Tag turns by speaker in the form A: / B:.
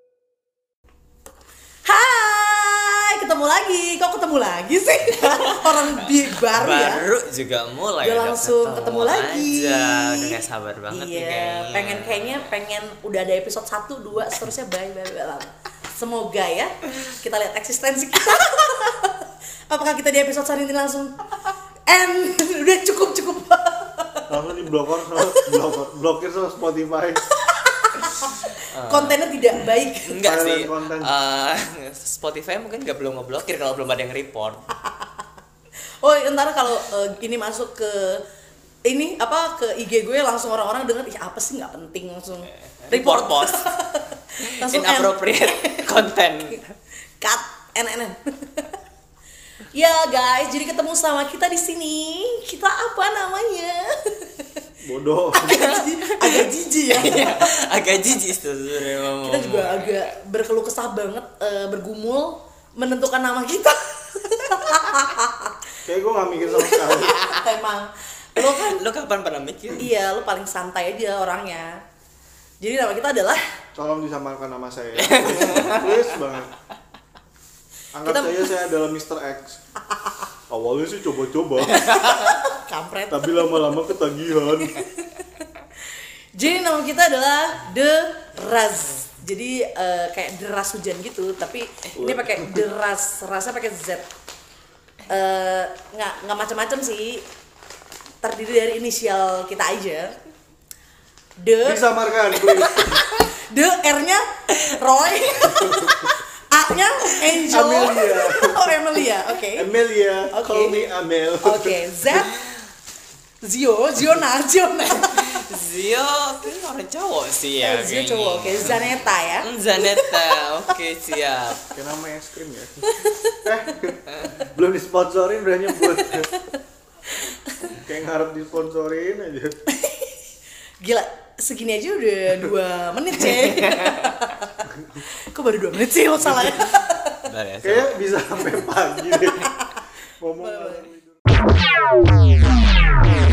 A: orang di baru ya
B: baru juga mulai
A: Udah
B: udah
A: langsung
B: ketemu
A: ketemu lagi.
B: aja. udah gak sabar banget nih
A: iya
B: kayaknya
A: pengen kayaknya pengen udah ada episode 1, 2 seterusnya bye bye bye lah. semoga ya kita lihat eksistensi kita apakah kita di episode hari ini langsung and udah cukup cukup
B: Ah.
C: Kalau nggak di blokor sama blokor, blokir sama Spotify.
A: kontennya tidak baik
B: enggak
C: Silent
B: sih
C: content.
B: Eh, Spotify mungkin gak belum ngeblokir kalau belum ada yang report
A: oh ntar kalau eh, ini masuk ke ini apa ke IG gue langsung orang-orang denger ih apa sih nggak penting langsung
B: Eh, report bos
A: langsung end.
B: inappropriate content
A: Cut NNN. ya guys, jadi ketemu sama kita di sini. Kita apa namanya?
C: Bodoh.
A: agak jijik ya.
B: Iya. agak jijik tuh sebenarnya ngomong
A: Kita juga agak berkeluh kesah banget, eh, bergumul menentukan nama kita.
C: Kayak gue nggak mikir sama sekali.
A: Emang lo kan
B: lo kapan pernah mikir
A: iya lo paling santai aja orangnya. Jadi nama kita adalah
C: Tolong disamakan nama saya. Please, please banget. Anggap
A: Kita-
C: saya saya adalah Mr. X. Awalnya sih coba-coba,
A: kampret.
C: tapi lama-lama ketagihan.
A: Jadi nama kita adalah The Raz. Jadi eh, kayak deras hujan gitu, tapi ini pakai deras, rasanya pakai Z. Eh, nggak nggak macam-macam sih. Terdiri dari inisial kita aja. The
C: Disamarkan, please.
A: The R-nya Roy. A-nya Angel.
C: Amelia.
A: oh, Amelia. Oke.
C: Amelia,
A: Oke.
C: call me Amel.
A: Oke, Z Zio, Ziona, Ziona.
B: Zio kayaknya orang cowok sih ya
A: Zio
B: kayaknya.
A: cowok. Oke, Zaneta ya.
B: Hmm, Zaneta oke siap
C: Kayak nama es krim ya. eh, belum disponsorin udah nyebut. Kayak ngarep disponsorin aja.
A: Gila, segini aja udah dua menit, Cek. Kok baru dua menit sih lo salahnya?
B: Bentar ya,
C: Kayak bisa sampai pagi deh. Ngomong. ngalor ngidul.
D: Wow.